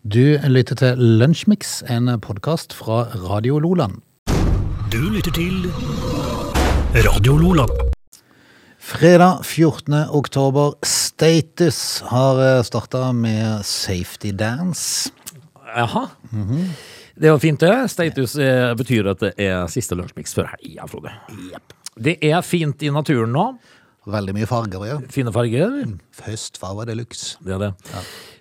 Du lytter til Lunsjmix, en podkast fra Radio Loland. Du lytter til Radio Lola. Fredag 14. oktober. Status har starta med Safety Dance. Jaha. Det var fint, det. Status eh, betyr at det er siste lunsjmix før helga, Frode. Det er fint i naturen nå. Veldig mye farger, ja. Fine farger. Høstfarger de luxe. Det er det.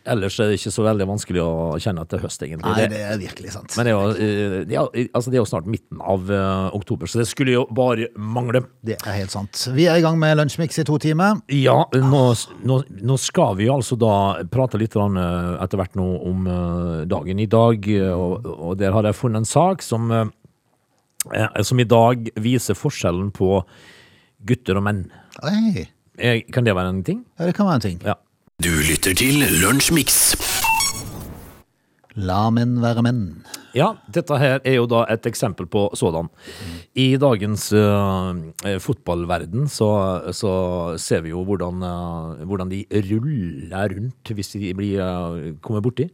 Ellers er det ikke så veldig vanskelig å kjenne at det er høst, egentlig. Nei, Det- det er virkelig sant. men det er, jo, eh, det, er, altså det er jo snart midten av eh, oktober, så det skulle jo bare mangle. Det er helt sant. Vi er i gang med Lunsjmix i to timer. Ja, nå, nå, nå skal vi jo altså da prate litt grann, eh, etter hvert nå om eh, dagen i dag, eh, og, og der har jeg funnet en sak som, eh, eh, som i dag viser forskjellen på gutter og menn. Oi, Eh, Kan det være en ting? ja, det kan være en ting. Ja. Du lytter til Lunsjmix. La menn være menn. Ja, dette her er jo da et eksempel på sådan. I dagens eh, fotballverden så, så ser vi jo hvordan, eh, hvordan de ruller rundt hvis de blir, eh, kommer borti.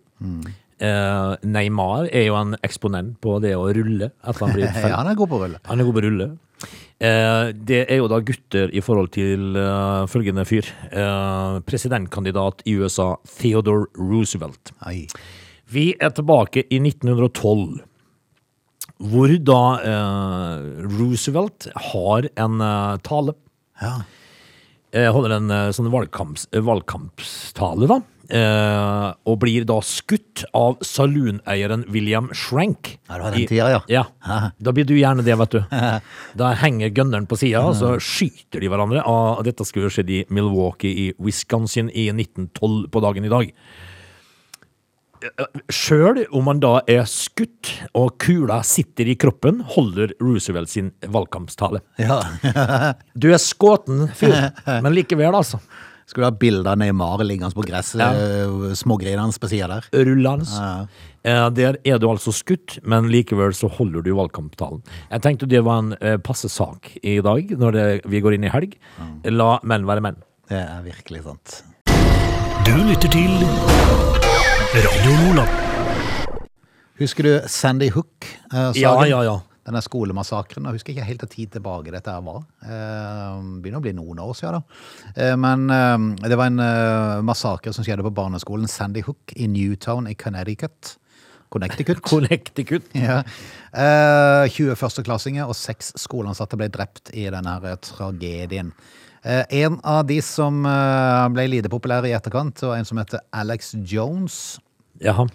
Eh, Neymar er jo en eksponent på det å rulle etter han blir Ja, han er god på å rulle. han er god på å rulle. Eh, det er jo da gutter i forhold til eh, følgende fyr. Eh, presidentkandidat i USA, Theodore Roosevelt. Oi. Vi er tilbake i 1912, hvor da eh, Roosevelt har en eh, tale. Ja. Eh, holder en eh, sånn valgkamps, eh, valgkampstale, da. Eh, og blir da skutt av salooneieren William Shrank. Ja, det var den tida, ja. Ja, Da blir du gjerne det, vet du. Da henger gunneren på sida, og så Mm. skyter de hverandre. Og dette skulle skjedd i Milwaukee i Wisconsin i 1912 på dagen i dag. Eh, Sjøl om han da er skutt og kula sitter i kroppen, holder Roosevelt sin valgkampstale. ja. Du er skåten fyr, men likevel, altså. Skulle ha bilde av Neymar liggende på gresset, ja. smågrinene på sida der. Rullans. Eh, Der er du altså skutt, men likevel så holder du valgkamptalen. Jeg tenkte det var en eh, passe sak i dag, når det, vi går inn i helg. La menn være menn. Det er virkelig sant. Du lytter til Radio Lola. Husker du Sandy Hook? eh, Ja, saken? ja, ja. Denne skolemassakren. Jeg husker ikke helt hvor tid tilbake dette her var. Eh, Begynner å bli noen år siden, da. Eh, Men eh, det var en eh, massakre som skjedde på barneskolen Sandy Hook i Newtown i Connecticut. Connecticut. Connecticut. Ja. Eh, 20 førsteklassinger og seks skoleansatte ble drept i denne her eh, tragedien. Eh, en av de som eh, ble lite populære i etterkant, var en som heter Alex Jones. Jaha.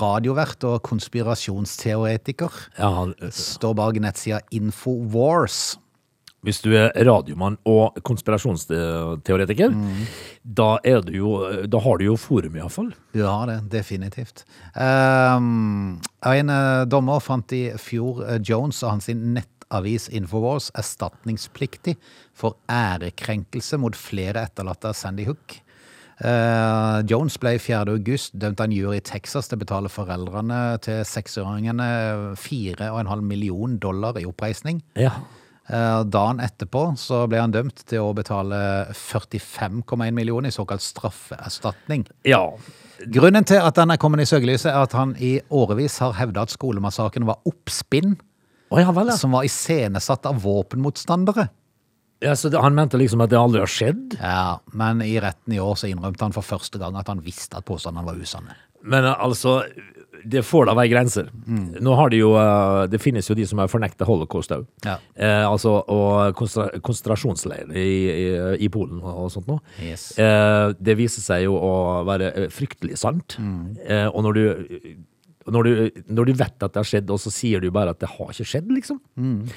Radiovert og konspirasjonsteoretiker. Ja, Står bak nettsida Infowars. hvis du er radiomann og konspirasjonsteoretiker, da, er du jo, da har du jo forum, iallfall. Du har det, definitivt. Ehm, en eh, dommer fant i fjor eh, Jones og hans sin nettavis Infowars erstatningspliktig for ærekrenkelse mot flere etterlatte av Sandy Hook. Eh, Jones ble 4. august dømt av en jury i Texas til å betale foreldrene til seksåringene 4,5 million dollar i oppreisning. Ja. Eh, Dagen etterpå så ble han dømt til å betale 45,1 millioner i såkalt straffeerstatning. ja. Grunnen til at han er kommet i søkelyset, er at han i årevis har hevda at skolemassakren var oppspinn Å ja vel, ja. som var iscenesatt av våpenmotstandere. ja. Så det, han mente liksom at det aldri har skjedd? Ja, Men i retten i år så innrømte han for første gang at han visste at påstandene var usanne. Men eh, altså, det får da være grenser. Mm. Nå har de jo eh, Det finnes jo de som har fornekta holocaust òg. Ja. Eh, altså, og konstra- konsentrasjonsleirer i, i, i Polen og og sånt noe. Yes. Eh, det viser seg jo å være eh, fryktelig sant. Mm. Eh, og når du når du, når du vet at det har skjedd, og så sier du bare at det har ikke skjedd, liksom. Mm.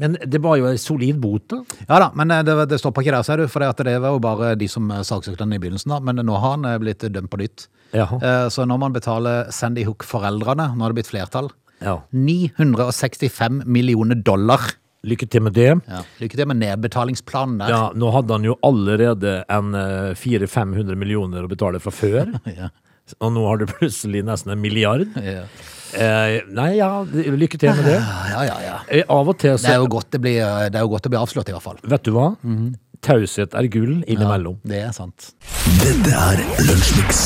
Men det var jo en solid bot, da. Ja da, men eh, det, det stopper ikke der, ser du. For det, at det var jo bare de som eh, saksøkte han i begynnelsen, da. Men nå har han eh, blitt dømt på nytt. Jaha. Eh, Så når man betaler Sandy Hook-foreldrene, nå har det blitt flertall, Ja. 965 millioner dollar. Lykke til med det. Lykke til med nedbetalingsplanen der. Ja, nå hadde han jo allerede en eh, 400-500 millioner å betale fra før. Ja. Og nå har du plutselig nesten en milliard. Ja. Eh, nei, ja, lykke til med det. Ja, ja, ja. Eh, av og til Det så er, jo Mhm. godt det, blir, det er jo godt det blir avslørt, i hvert fall. Vet du hva? Taushet er gull innimellom. Det er sant. Dette er Lunsjmix.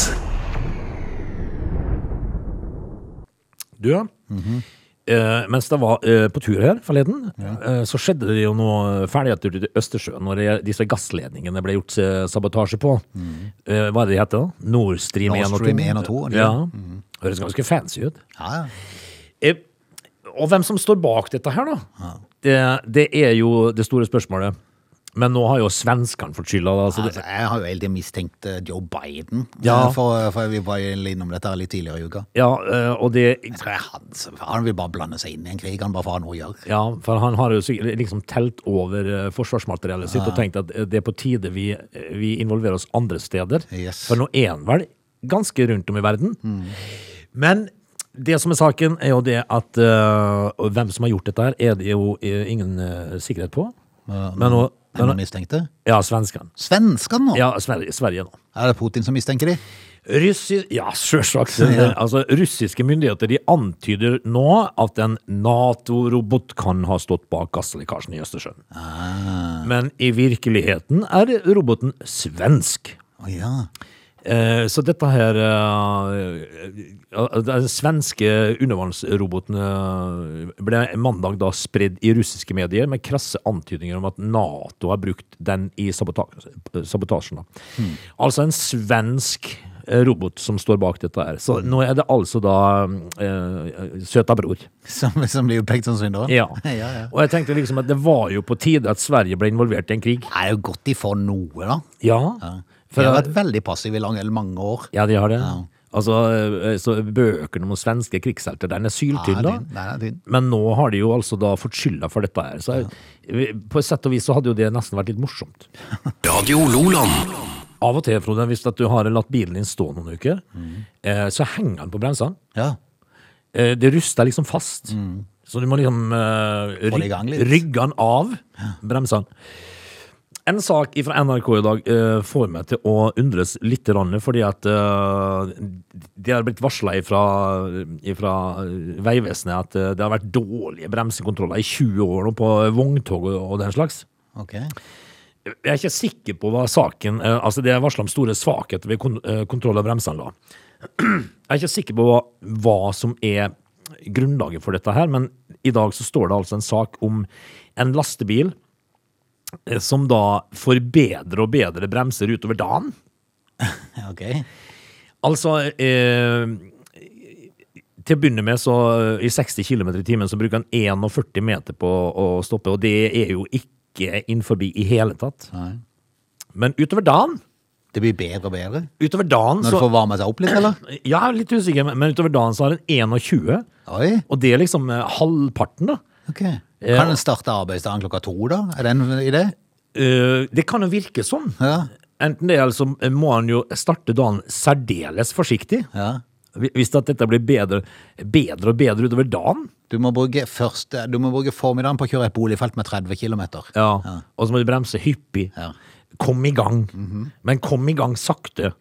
Du, ja. Mhm. Eh, mens jeg var eh, på tur her forleden, eh, så skjedde det jo noe ferdigheter ute i Østersjøen når det, disse gassledningene ble gjort eh, sabotasje på. Eh, hva er det de heter da? Nord Stream Mhm. Nord 1 og 2. Stream 1 og 2, ja. Mhm. Ja. Høres ganske fancy ut. Ja, ja. Eh, og hvem som står bak dette her, da? Det, det er jo det store spørsmålet. Men nå har jo svenskene fått skylda. da, så det- Altså, jeg har jo egentlig mistenkt eh, Joe Biden, Ja. eh, for, for vi var jo innom dette her litt tidligere i uka. Ja, eh, og det Jeg tror det er han, som- han vil bare blande seg inn i en krig, han bare får ha noe å gjøre. Ja, for han har jo sikkert liksom telt over eh, forsvarsmateriellet sitt og tenkt at eh, det er på tide vi, eh, vi involverer oss andre steder. Yes. Mm. For nå er han vel ganske rundt om i verden. Men det som er saken, er jo det at eh, og hvem som har gjort dette, her, er det jo eh, ingen eh, sikkerhet på. Men nå Hvem men, han mistenkte? Ja, svenskene. Svenskene nå? Ja, Sverige, Sverige nå. Er det Putin som mistenker de? Russi ja, sjølsagt. Altså, russiske myndigheter de antyder nå at en Nato-robot kan ha stått bak gasslekkasjen i Østersjøen. Men i virkeligheten er roboten svensk. Å ja. Eh, Så dette her eh, eh, Den svenske undervannsroboten eh, ble mandag da spredd i russiske medier med krasse antydninger om at Nato har brukt den i sabota sabotasjen. Da. Altså en svensk eh, robot som står bak dette her. Så nå er det altså da eh, søta bror. Som, som blir jo pekt som syndere? Ja. ja, ja. Og jeg tenkte liksom at det var jo på tide at Sverige ble involvert i en krig. Det er jo godt de får noe, da. Ja. De har For, vært veldig passive i lang, eller mange år. Ja, de har det. Altså, eh, så Bøkene om svenske krigshelter, den er syltynn, da. Nei, nei, din. Men nå har de jo altså da fått skylda for dette her. Så eh, på et sett og vis så hadde jo det nesten vært litt morsomt. Radio Loland. Av og til, Frode, hvis at du har latt bilen din stå noen uker, eh, så henger den på bremsene. Ja. Eh, det ruster liksom fast. Så du må liksom eh, Mm. Få det i ryg- gang litt. rygge den av bremsene. En sak fra NRK i dag eh, får meg til å undres litt, grann, fordi at eh, det har blitt varsla fra Vegvesenet at eh, det har vært dårlige bremsekontroller i 20 år nå på vogntog og, og den slags. Ok. Jeg er ikke sikker på hva saken eh, Altså, det er varsla om store svakheter ved kon eh, kontroll av bremsene, da. Jeg er ikke sikker på hva, hva som er grunnlaget for dette her, men i dag så står det altså en sak om en lastebil eh, som da får bedre og bedre bremser utover dagen. Ja, ok. Altså eh, Til å begynne med, så eh, i 60 km i timen, så bruker han 41 meter på å stoppe, og det er jo ikke innenfor i hele tatt. Nei. Men utover dagen Det blir bedre og bedre. Utover dagen Når du så får varma seg opp litt, eller? Ja, litt usikker, men- men utover dagen så har den 21. Oi, Og det er liksom eh, halvparten, da. ok. Ja. Kan en starte arbeidsdagen klokka to, da? Er det en idé? Eh, det kan jo virke sånn. Ja. Enten det, eller så må han jo starte dagen særdeles forsiktig. ja. Hvi- Hvis at dette blir bedre, bedre og bedre utover dagen. Du må bruke, først, eh, du må bruke formiddagen på å kjøre et boligfelt med 30 km. Ja. Og så må du bremse hyppig. Ja. Mhm. Kom i gang. Men kom i gang sakte.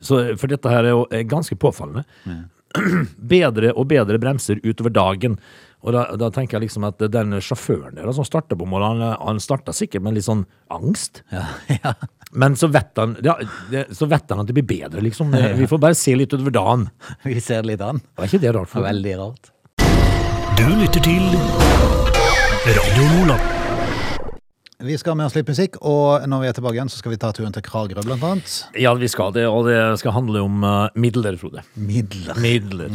Så, for dette her er jo eh, ganske påfallende. bedre og bedre bremser utover dagen. Og da, da tenker jeg liksom at den sjåføren der som starter på målet, han, han starta sikkert med litt sånn angst. Men så vet, han, ja, det, så vet han at det blir bedre, liksom. Vi får bare se litt utover dagen. Vi ser det litt an. Var ikke det rart? Det For er veldig rart. Du lytter til Radio Loland. Vi skal ha med oss litt musikk, og når vi er tilbake igjen, så skal vi ta turen til Kragerø, blant annet. Ja, vi skal det, og det skal handle om eh, midler, Frode. Midler. Midler.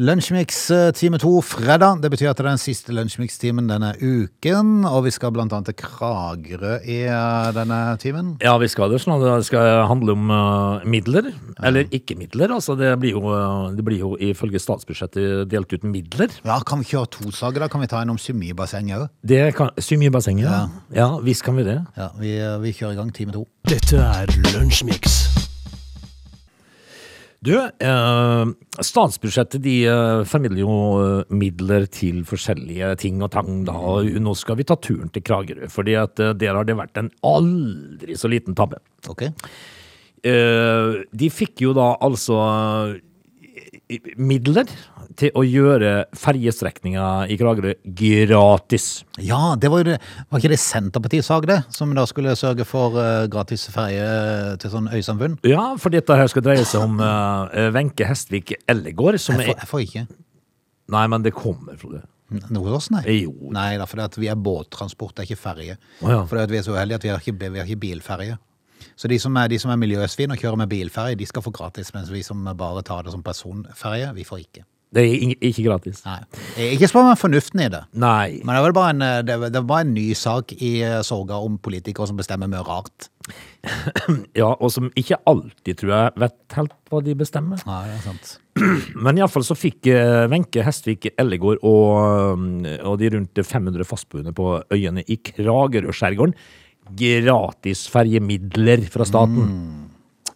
Lunsjmix eh, time to fredag. Det betyr at det er den siste lunsjmix-timen denne uken, og vi skal blant annet til Kragerø i eh, denne timen. Ja, vi skal det. Sånn at det skal handle om eh, midler, eller ikke midler. Altså, det blir jo, eh, det blir jo ifølge statsbudsjettet delt ut midler. Ja, kan vi kjøre to saker da? Kan vi ta en om symibassenget òg? Det kan, Syv mye bassenger. Ja. ja, visst kan vi det. Ja, vi, eh, vi kjører i gang time to. Dette er Lunsjmix. Du, eh, statsbudsjettet de eh, formidler jo eh, midler til forskjellige ting og tang, da. Og nå skal vi ta turen til Kragerø, fordi at eh, der har det vært en aldri så liten tabbe. Ok. Eh, de fikk jo da altså eh, midler til å gjøre ferjestrekninga i Kragerø gratis. Ja, det var jo det. Var ikke det Senterpartiet sa det? Som da skulle sørge for eh, gratis ferje til sånn øysamfunn? Ja, for dette her skal dreie seg om eh, Wenche Hestvik Ellegård, som Jeg får, er jeg får ikke Nei, men det kommer, Frode. noe hos oss, nei. Jo. Nei, da, for det at vi er båttransport, det er ikke ferje. Å ja. For det at vi er så uheldige at vi har ikke, bi- vi har ikke bilferje. Så de som er, de som er miljøsvin og kjører med bilferje, de skal få gratis, mens vi som bare tar det som personferje, vi får ikke. Det er ing- ikke gratis. Nei. Eh, Ikke spør meg fornuften i det. Nei. Men det var bare en, eh, det var- det var en ny sak i eh, sorga om politikere som bestemmer mye rart. Ja, og som ikke alltid, tror jeg, vet helt hva de bestemmer. Nei, det er sant. Men iallfall så fikk eh, Wenche Hestvik Ellegård og, mm, og de rundt 500 fastboende på øyene i Kragerø-skjærgården gratis ferjemidler fra staten.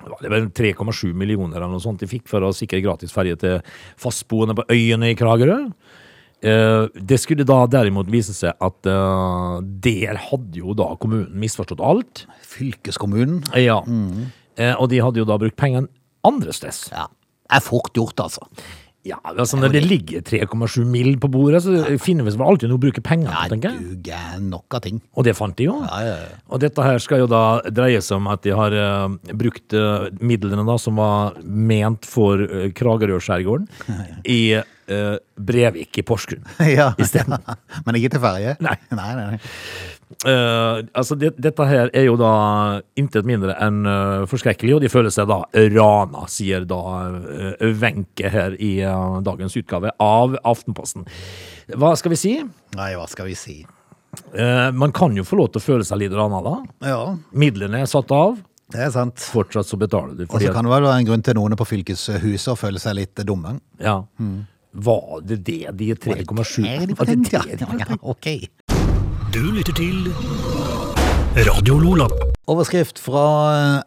Det var vel 3,7 millioner eller noe sånt de fikk for å sikre gratis ferje til fastboende på øyene i Kragerø. Eh, Det skulle da derimot vise seg at eh, der hadde jo da kommunen misforstått alt. Fylkeskommunen Ja. Eh, Og de hadde jo da brukt pengene andre steds. ja, er fort gjort, altså. Ja, altså Når det ligger 3,7 mill. på bordet, så finner vi vel alltid noe å bruke penger på, Nei, tenker jeg. du gæren nok av ting. Og det fant de jo. Ja, ja, ja. Og dette her skal jo da dreie seg om at de har eh, brukt eh, midlene da som var ment for uh, Kragerø-skjærgården, i eh, Brevik i Porsgrunn. ja. Isteden. Men ikke til ferje? Nei. nei, nei, nei. Eh, altså det, Dette her er jo da intet mindre enn eh, forskrekkelig, og de føler seg da rana, sier da eh, Wenche her i eh, dagens utgave av Aftenposten. Hva skal vi si? Nei, hva skal vi si? Eh, man kan jo få lov til å føle seg litt rana da. Ja, Midlene er satt av, det er sant. fortsatt så betaler du. Og så at- kan det vel være en grunn til noen på fylkeshuset å føle seg litt dumme. ja. Var det det de 3,7 Er Mm. det Var det det? det de- Ja, ja, ok. Du lytter til Radio Lola. Overskrift fra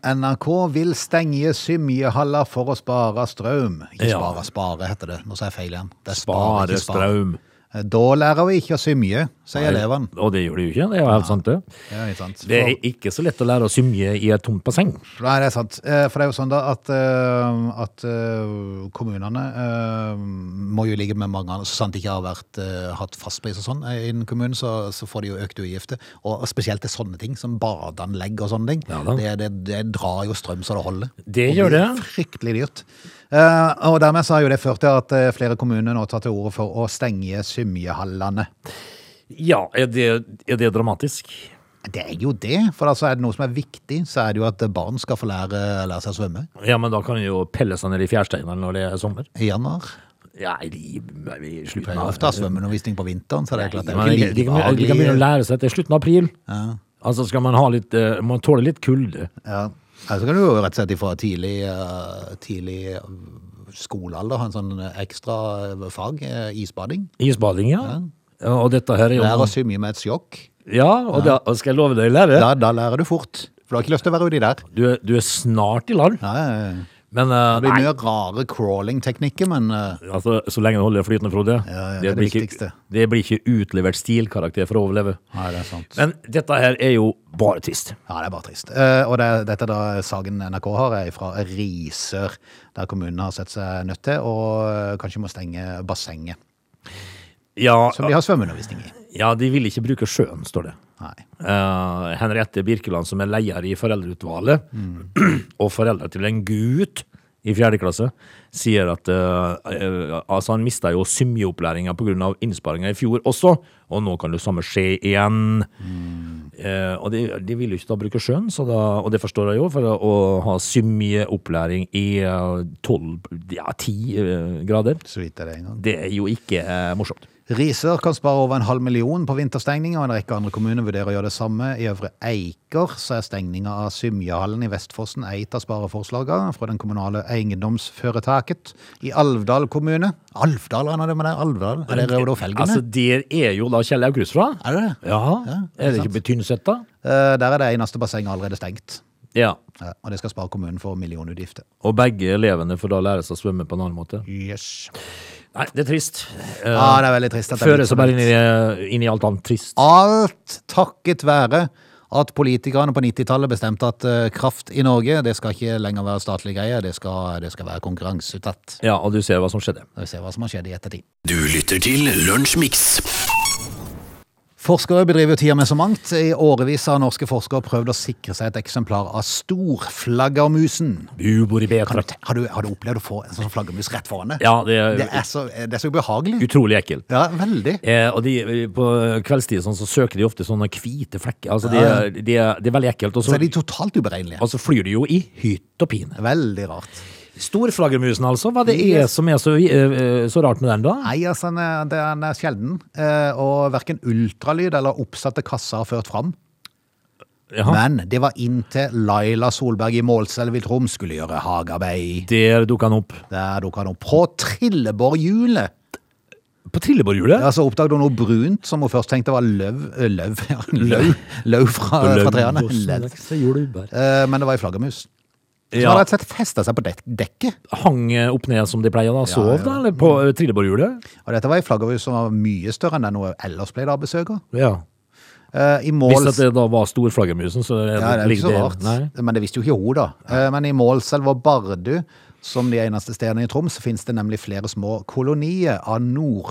NRK vil stenge Symjehalla for å spare strøm. Ikke Ja. spare, spare heter det. Nå sa jeg feil igjen. Det er spare, Bare ikke spare. Eh, strøm. Da lærer vi ikke å symje, sier elevene. Og det gjør de jo ikke, det er jo helt sant det. Ja, ikke sant. Det er ikke så lett å lære å symje i et tomt basseng. For, nei, det er sant. Eh, For det er jo sånn da at, eh, at eh, kommunene eh, må jo ligge med mange andre, så sant de ikke har vært, eh, hatt fastpris og sånn eh, innen kommunen, så, så får de jo økte utgifter. Og spesielt til sånne ting, som badeanlegg og sånne ting. Ja da. det, det, det drar jo strøm så det holder. Det gjør det. fryktelig dyrt. Eh, og dermed så har jo det ført til at eh, flere kommuner nå tar til orde for å stenge symjehallene. Ja, er det, er det dramatisk? Det er jo det, for altså er det noe som er viktig, så er det jo at barn skal få lære, lære seg å svømme Ja, men da kan de jo pelle seg ned i fjærsteinene når det er sommer. i januar. Ja, i, i i Vi slutten pleier av ofte å ha svømmeundervisning på vinteren, så det er klart det er Men jo de, ikke de, like kan- de kan behagelig. begynne å lære seg til slutten av april. Altså skal man ha litt eh, Man tåler litt kulde. Ja. Ja, så kan du jo rett og slett fra tidlig, eh, tidlig eh, skolealder ha en sånn ekstra eh, fag, eh, isbading. Isbading, ja. ja. Og dette her er jo Lære å svømme med et sjokk. Ja, og da og skal jeg love deg, lærer. Da, da lærer du fort, for du har ikke lyst til å være uti der. Du, er- du er snart i land. Ja, ja, ja. Men eh, Det blir nei, mye rare crawling-teknikker, men eh, altså, så lenge du holder deg flytende, Frode. ja, det er det blir ikke, viktigste. det blir ikke utlevert stilkarakter for å overleve. Nei, det er sant. Men dette her er jo bare trist. Ja, det er bare trist. Eh, og det, dette er da saken NRK har, er fra Risør, der kommunen har sett seg nødt til og eh, kanskje må stenge bassenget, Ja, som de har svømmeundervisning i. ja, de vil ikke bruke sjøen, står det. Nei. Eh, Henriette Birkeland, som er leder i foreldreutvalget, Mm. og foreldre til en gutt i fjerde klasse, sier at eh, eh, altså han mista jo symjeopplæringa pga. innsparinga i fjor også, og nå kan det samme skje igjen. Mm. Eh, og de, de vil jo ikke da bruke sjøen, så da, og det forstår jeg jo, for å, å ha symjeopplæring i eh, 12, ja, 10 eh, grader, Så vidt er det en gang. det er jo ikke eh, morsomt. Risør kan spare over en halv million på vinterstengning, og en rekke andre kommuner vurderer å gjøre det samme. I Øvre Eiker så er stengninga av Symjehallen i Vestfossen et av spareforslagene fra den kommunale eiendomsforetaket. I Alvdal kommune Alvdal, hva er det med det? Alvdal? Er det Reodor Felgen? Altså, der er jo da Kjell Aukrust fra. Er det det? Ja, Ja, er det sant. ikke på Tynset, da? Eh, Der er det eneste bassenget allerede stengt. Ja. Ja, Og det skal spare kommunen for millionutgifter. Og begge elevene får da lære seg å svømme på en annen måte. Yes. Nei, det er trist. Eh, Ja, sånn det er sånn veldig trist. at det er Fører blitt seg sånn. bare inn i, inn i alt annet trist. Alt takket være At politikerne på 90-tallet bestemte at eh, kraft i Norge det skal ikke lenger være statlig greie, det skal, det skal være konkurranseutsatt. Ja, og du ser hva som skjedde. Så Vi ser hva som har skjedd i ettertid. Du lytter til Lunsjmix. Forskere bedriver jo tida med så mangt. I årevis har norske forskere prøvd å sikre seg et eksemplar av storflaggermusen. Ubor i Kan Betra. du te- Har du, har du opplevd å få en sånn flaggermus rett foran deg? Ja, det er Det er så, det er så ubehagelig. utrolig ekkelt. Ja, veldig. Eh, og de, på kveldstid sånn, så søker de ofte sånne hvite flekker. Altså, de, Ja, ja. de, er- det er veldig ekkelt. Og Så så, er de totalt uberegnelige. og så flyr de jo i hytt og pine. Veldig rart. Storflaggermusen, altså. Hva det er som er så, eh, eh, så rart med den, da? Nei, altså, den er, den er sjelden. eh, Og verken ultralyd eller oppsatte kasser har ført fram. Jaha. Men det var inntil Laila Solberg i Målselv i Troms skulle gjøre hagearbeid. Der dukka han opp. Der dukka han opp. På trillebårhjulet! På trillebårhjulet? Ja, så Altså, oppdaget hun noe brunt som hun først tenkte var løv eh, Løv, ja, løv, løv fra, fra trærne. Løv. Eh, Men det var ei flaggermus. Som Ja. hadde rett og slett festa seg på dek dekket. Hang eh, opp ned som de pleier, da? Sov, ja. Mm. da? Eller på eh, trillebårhjulet? Og dette var ei flaggermus som var mye større enn den hun ellers pleide å ha besøk av. Ja. Eh, I Hvis mål... at det da var storflaggermusen, så Ja, er det er jo ikke ligger så det- rart. Nei. Men det visste jo ikke hun, da. Eh, Men i Målselv og Bardu, som de eneste stedene i Troms, finnes det nemlig flere små kolonier av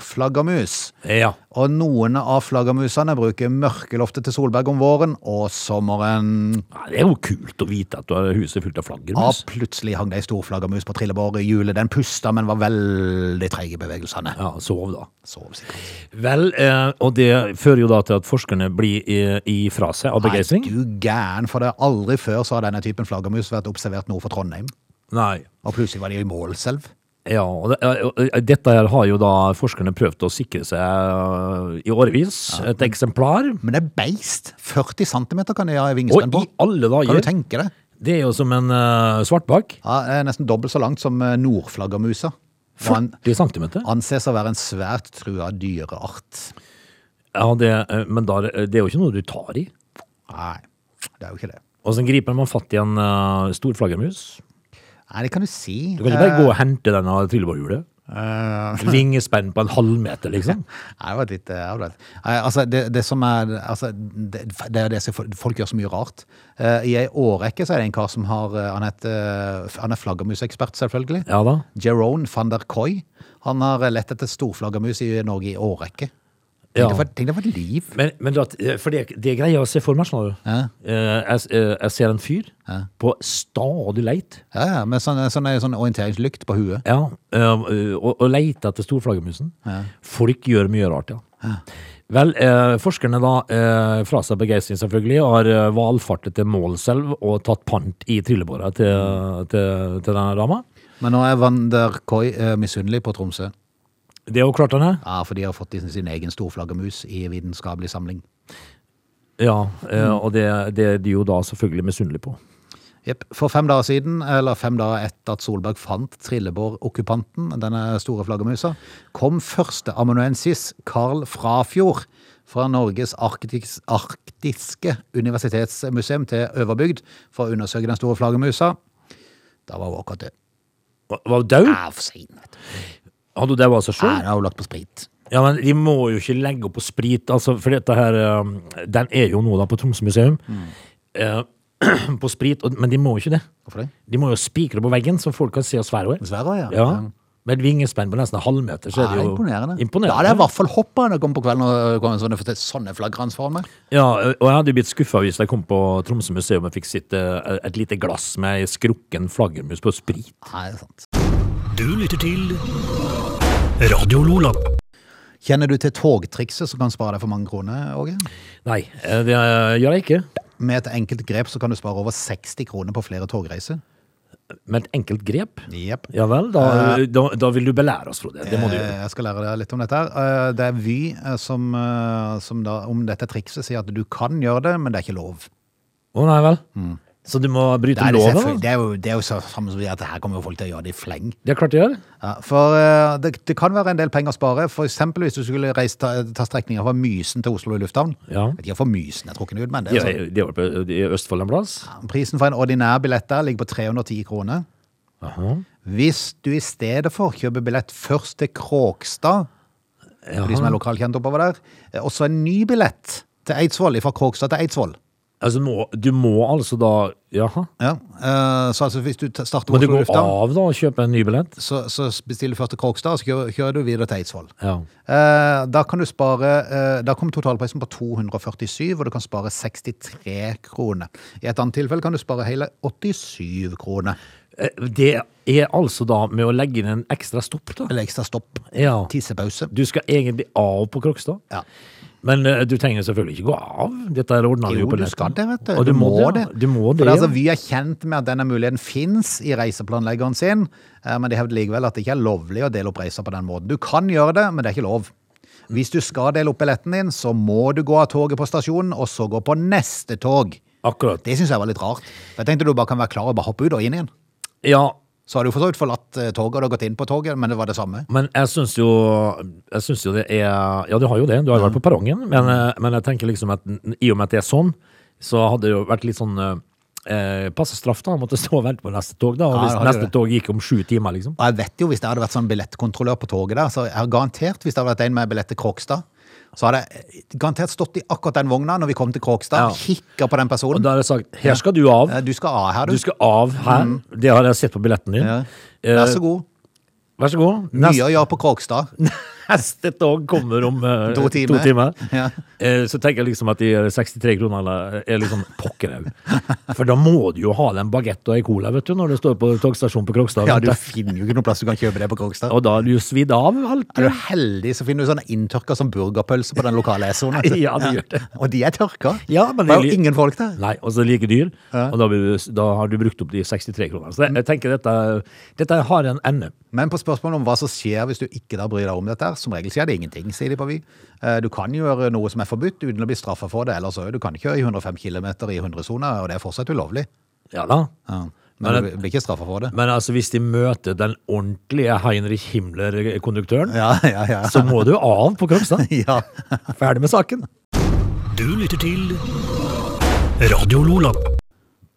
nordflaggermus. Ja. Og noen av flaggermusene bruker mørkeloftet til Solberg om våren og sommeren. Ja, Det er jo kult å vite at du har huset fullt av Ja, flaggermus. plutselig hang det ei stor flaggermus på trillebårhjulet. Den pusta, men var veldig treig i bevegelsene. Ja, sov, da. Sov sikkert. Vel, eh, og det fører jo da til at forskerne blir eh, ifra seg av Nei, begeistring. du gæren, for det er aldri før så har denne typen flaggermus vært observert nord for Trondheim. Nei. Og plutselig var de i Målselv. Ja, og det, eh, og, eh, dette her har jo da forskerne prøvd å sikre seg eh, i årevis. Et eksemplar. Men det er beist. 40 cm kan de ha i Og vingespenn på. i alle Kan du dager! tenke deg? Det er jo som en eh, svartbakk. Ja, det er nesten dobbelt så langt som eh, nordflaggermusa. Og han 40 centimeter. anses å være en svært trua dyreart. Ja, det, eh, men da, det er jo ikke noe du tar i. Nei, det er jo ikke det. Åssen griper man fatt i en eh, stor flaggermus? Nei, det kan du si. Du kan ikke bare gå og hente den av trillebårhjulet. Eh, Vingespenn på en halvmeter, liksom. Nei, det var et litt eh, avbladet. Nei, altså, det, det som er altså, det, det er det som Folk gjør så mye rart. Eh, I ei årrekke så er det en kar som har eh, Han, heter, eh, han er flaggermusekspert, selvfølgelig. Ja da. Jerone van der Koy. Han har eh, lett etter storflaggermus i Norge i årrekke. Tenk Ja. deg for- tenk deg for et liv! Men, men da, for det, det greier jeg å se for meg, skjønner du. Ja. Eh, Jeg, s- eh, jeg ser en fyr på stadig leit. Ja, ja, med sånn, sånn, sånn orienteringslykt på huet. Ja, eh, og, og leter etter storflaggermusen. Folk gjør mye rart, ja. Vel, eh, forskerne da, eh, fra seg begeistring selvfølgelig, har eh, valfartet til Målselv og tatt pant i trillebåra til, til, til denne dama. Men nå er Van der Koy eh, misunnelig på Tromsø. Det er jo klart han er. Ja, For de har fått sin, sin egen storflaggermus i vitenskapelig samling. Ja, eh, og det, det er de jo da selvfølgelig misunnelige på. Jepp. For fem dager siden, eller fem dager etter at Solberg fant trillebårokkupanten, denne store flaggermusa, kom førsteamanuensis Carl Frafjord fra Norges arktis, arktiske universitetsmuseum til Øverbygd for å undersøke den store flaggermusa. Da var hun akkurat død. Hva- Var hun død? Ja, for sein, vet du. Hadde hun daua seg Nei, sjøl? da har hun lagt på sprit. Ja, men de må jo ikke legge opp på sprit, altså, for dette her, eh, den er jo nå da på Tromsø museum, Eh, på sprit, og, men de må jo ikke det. Hvorfor det? De må jo spikre på veggen, så folk kan se oss hver år. Dessverre, ja. Ja, med et vingespenn på nesten en halvmeter, så Ja, er det jo imponerende. Da imponerende. hadde jeg i hvert fall hoppa når jeg kom på kvelden og kom med sånne, sånne flagransformer. Ja, og jeg hadde jo blitt skuffa hvis jeg kom på Tromsø museum og fikk sitt, eh, et lite glass med ei skrukken flaggermus på sprit. Nei, det er sant. Du lytter til Radio Lola. Kjenner du til togtrikset som kan spare deg for mange kroner, Åge? Nei, eh, det gjør jeg ikke. Med et enkelt grep så kan du spare over 60 kroner på flere togreiser. Med et enkelt grep. Jepp. Ja vel, da, Eh. da, da vil du belære oss, Frode. Det må du gjøre. Jeg skal lære deg litt om dette. her. Eh, Det er Vy eh, som, eh, som da, om dette trikset sier at du kan gjøre det, men det er ikke lov. Å nei vel. Så du må Det bryte er, Mm. det loven? selvfølgelig- da? det er jo, det er jo så, samme som å si at her kommer jo folk til å gjøre det i fleng. Det er klart det gjør. Ja, for eh, det, det kan være en del penger å spare. For eksempel hvis du skulle reise, ta, ta strekninga fra Mysen til Oslo lufthavn. Ja. Jeg vet ikke hvorfor Mysen er trukket ut, men det Det er er, det er vel på i Østfold en plass? sånn. Prisen for en ordinær billett der ligger på 310 kroner. Aha. Hvis du i stedet for kjøper billett først til Kråkstad, for de som er lokalkjent oppover der, eh, og så en ny billett til Eidsvoll, fra Kråkstad til Eidsvoll, Altså, må, du må altså da Jaha. Ja, eh, så altså hvis du t- starter Må du Oslo gå lufthavn, av da og kjøpe en ny billett? så, så bestiller du først til Krokstad, og så kjører, kjører du videre til Eidsvoll. Ja. Eh, da kan du spare eh, Da kommer totalprisen på 247, og du kan spare 63 kroner. I et annet tilfelle kan du spare hele 87 kroner. Eh, Det er altså da med å legge inn en ekstra stopp, da. Eller ekstra stopp. Ja. Tissepause. Du skal egentlig av på Krokstad. Ja. Men eh, du trenger selvfølgelig ikke gå av. Dette er ordna Jo, på du nettet. skal det, vet du. Og du, må, det. ja. Du må For det, altså, Vy ja. er kjent med at denne muligheten fins i reiseplanleggeren sin, eh, men de hevder likevel at det ikke er lovlig å dele opp reiser på den måten. Du kan gjøre det, men det er ikke lov. Hvis du skal dele opp billetten din, så må du gå av toget på stasjonen, og så gå på neste tog. Akkurat. Det syns jeg var litt rart. Jeg tenkte du bare kan være klar og bare hoppe ut og inn igjen. Ja, Så har du for så vidt forlatt eh, toget og du har gått inn på toget, men det var det samme. Men jeg syns jo, jeg synes jo det er Ja, du har jo det. Du har jo vært på perrongen. Men, eh, men jeg tenker liksom at n- i og med at det er sånn, så hadde det jo vært litt sånn eh, Passe straff, da. Måtte stå og vente på neste tog, da. Og Ja, hvis det hadde neste det. tog gikk om sju timer, liksom. Og jeg vet jo, hvis det hadde vært sånn billettkontrollør på toget der, så jeg har garantert, hvis det hadde vært en med billett til Krokstad, så hadde jeg garantert stått i akkurat den vogna når vi kom til Krokstad, Ja. kikket på den Og personen. da har jeg sagt Her skal du av. Eh, Du skal av her, Du du. skal av her. Det har jeg sett på billetten din. Ja. Eh, Vær så god. Vær så god. Mye Neste, å gjøre på Krokstad. neste tog kommer om eh, To timer. Ja. Eh, Så tenker jeg liksom at de 63 kroner eller, er liksom pokker au. For da må du jo ha deg en bagett og ei cola vet du, når du står på togstasjonen på Krokstad. Ja, vet du du. finner jo ikke noen plass du kan kjøpe det på Krokstad. Og da er du jo svidd av alt. Er du heldig, så finner du sånne inntørka som burgerpølse på den lokale essoen. vet du. Ja, de gjør det. Og de er tørka. Ja, men det er det- jo ingen folk der. Nei, og så er det like dyr, og da, blir du, da har du brukt opp de 63 kronene. Så jeg, Mm. jeg tenker dette, dette har en ende. Men på spørsmålet om hva som skjer hvis du ikke da bryr deg om dette, her, som regel skjer det ingenting, sier de på Vy. Eh, Du kan gjøre noe som er forbudt uten å bli straffa for det, ellers òg. Du kan kjøre i 105 km i 100-sona, og det er fortsatt ulovlig. Ja da. Ja. Men Men du blir ikke straffa for det. Men altså, hvis de møter den ordentlige Heinrich Himmler-konduktøren, Ja, ja, ja. så må du av på Krokstad. ja. Ferdig med saken. Du lytter til Radio Lola.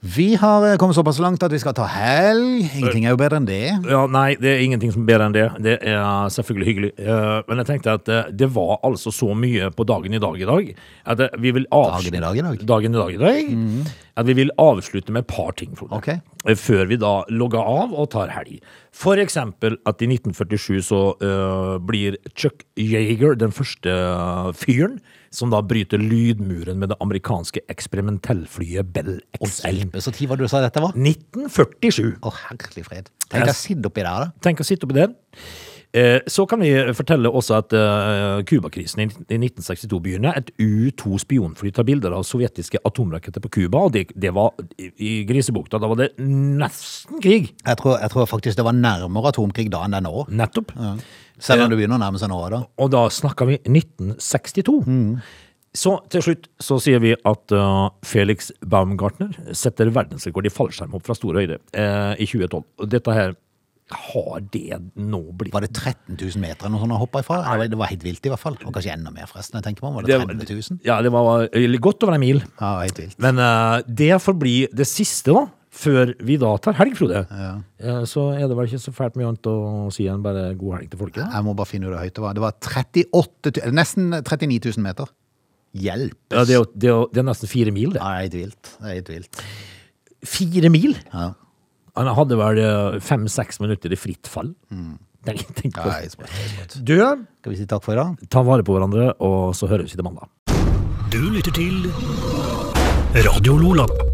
Vi har eh, kommet såpass langt at vi skal ta helg. Ingenting er jo bedre enn det. Ja, nei, det er ingenting som er bedre enn det. Det er selvfølgelig hyggelig. Eh, Men jeg tenkte at eh, det var altså så mye på dagen i dag i dag at eh, vi vil Dagen i avslutte dag i dag. Mhm. Dagen i dag i dag. At vi vil avslutte med et par ting, Frode. Ok. Eh, Før vi da logger av og tar helg. For eksempel at i 1947 så eh, blir Chuck Yeager den første eh, fyren som da bryter lydmuren med det amerikanske eksperimentellflyet Bell XL. Hjelpe, så tid var det du sa dette var? 1947. Å, herlig fred. Tenk deg å sitte oppi der, da. Tenk å sitte oppi der. Eh, Så kan vi fortelle også at eh, Cuba-krisen i i 1962 begynner. Et U-2-spionfly tar bilder av sovjetiske atomraketter på Cuba, og det, det var i i grisebukta. Da var det nesten krig. Jeg tror, jeg tror faktisk det var nærmere atomkrig da enn det er nå. Nettopp. Selv om det begynner å nærme seg nå, da. Og da snakker vi 1962. Mm. Så til slutt så sier vi at eh, Felix Baumgartner setter verdensrekord i fallskjerm opp fra stor høyde eh, i 2012. Og dette her har det nå blitt Var det 13 000 meter eller noe sånt han hoppa ifra? Eller Det var helt vilt i hvert fall. Og kanskje enda mer, forresten. jeg tenker på. Var det 30 000? Ja, det var eh, godt over en mil. Ja, helt vilt. Men eh, det får bli det siste, da. Før vi da tar helg, Frode. Eh, så er det vel ikke så fælt mye annet å si enn bare god helg til folket. Jeg må bare finne ut hvor høyt det var. Det var 38 000, nesten 39 000 meter. Hjelpes! Ja, det, er, jo- det, er, jo- det er nesten fire mil, det. Ja, det er helt vilt. Det er helt vilt. Fire mil?! Ja. Han hadde vel eh, fem-seks minutter i fritt fall. Tenk, tenk Ja, på det er det. helt sprøtt, det er helt sprøtt. Du, Skal vi si takk for i dag? ta vare på hverandre, og så høres vi til mandag. Du lytter til Radio Lola.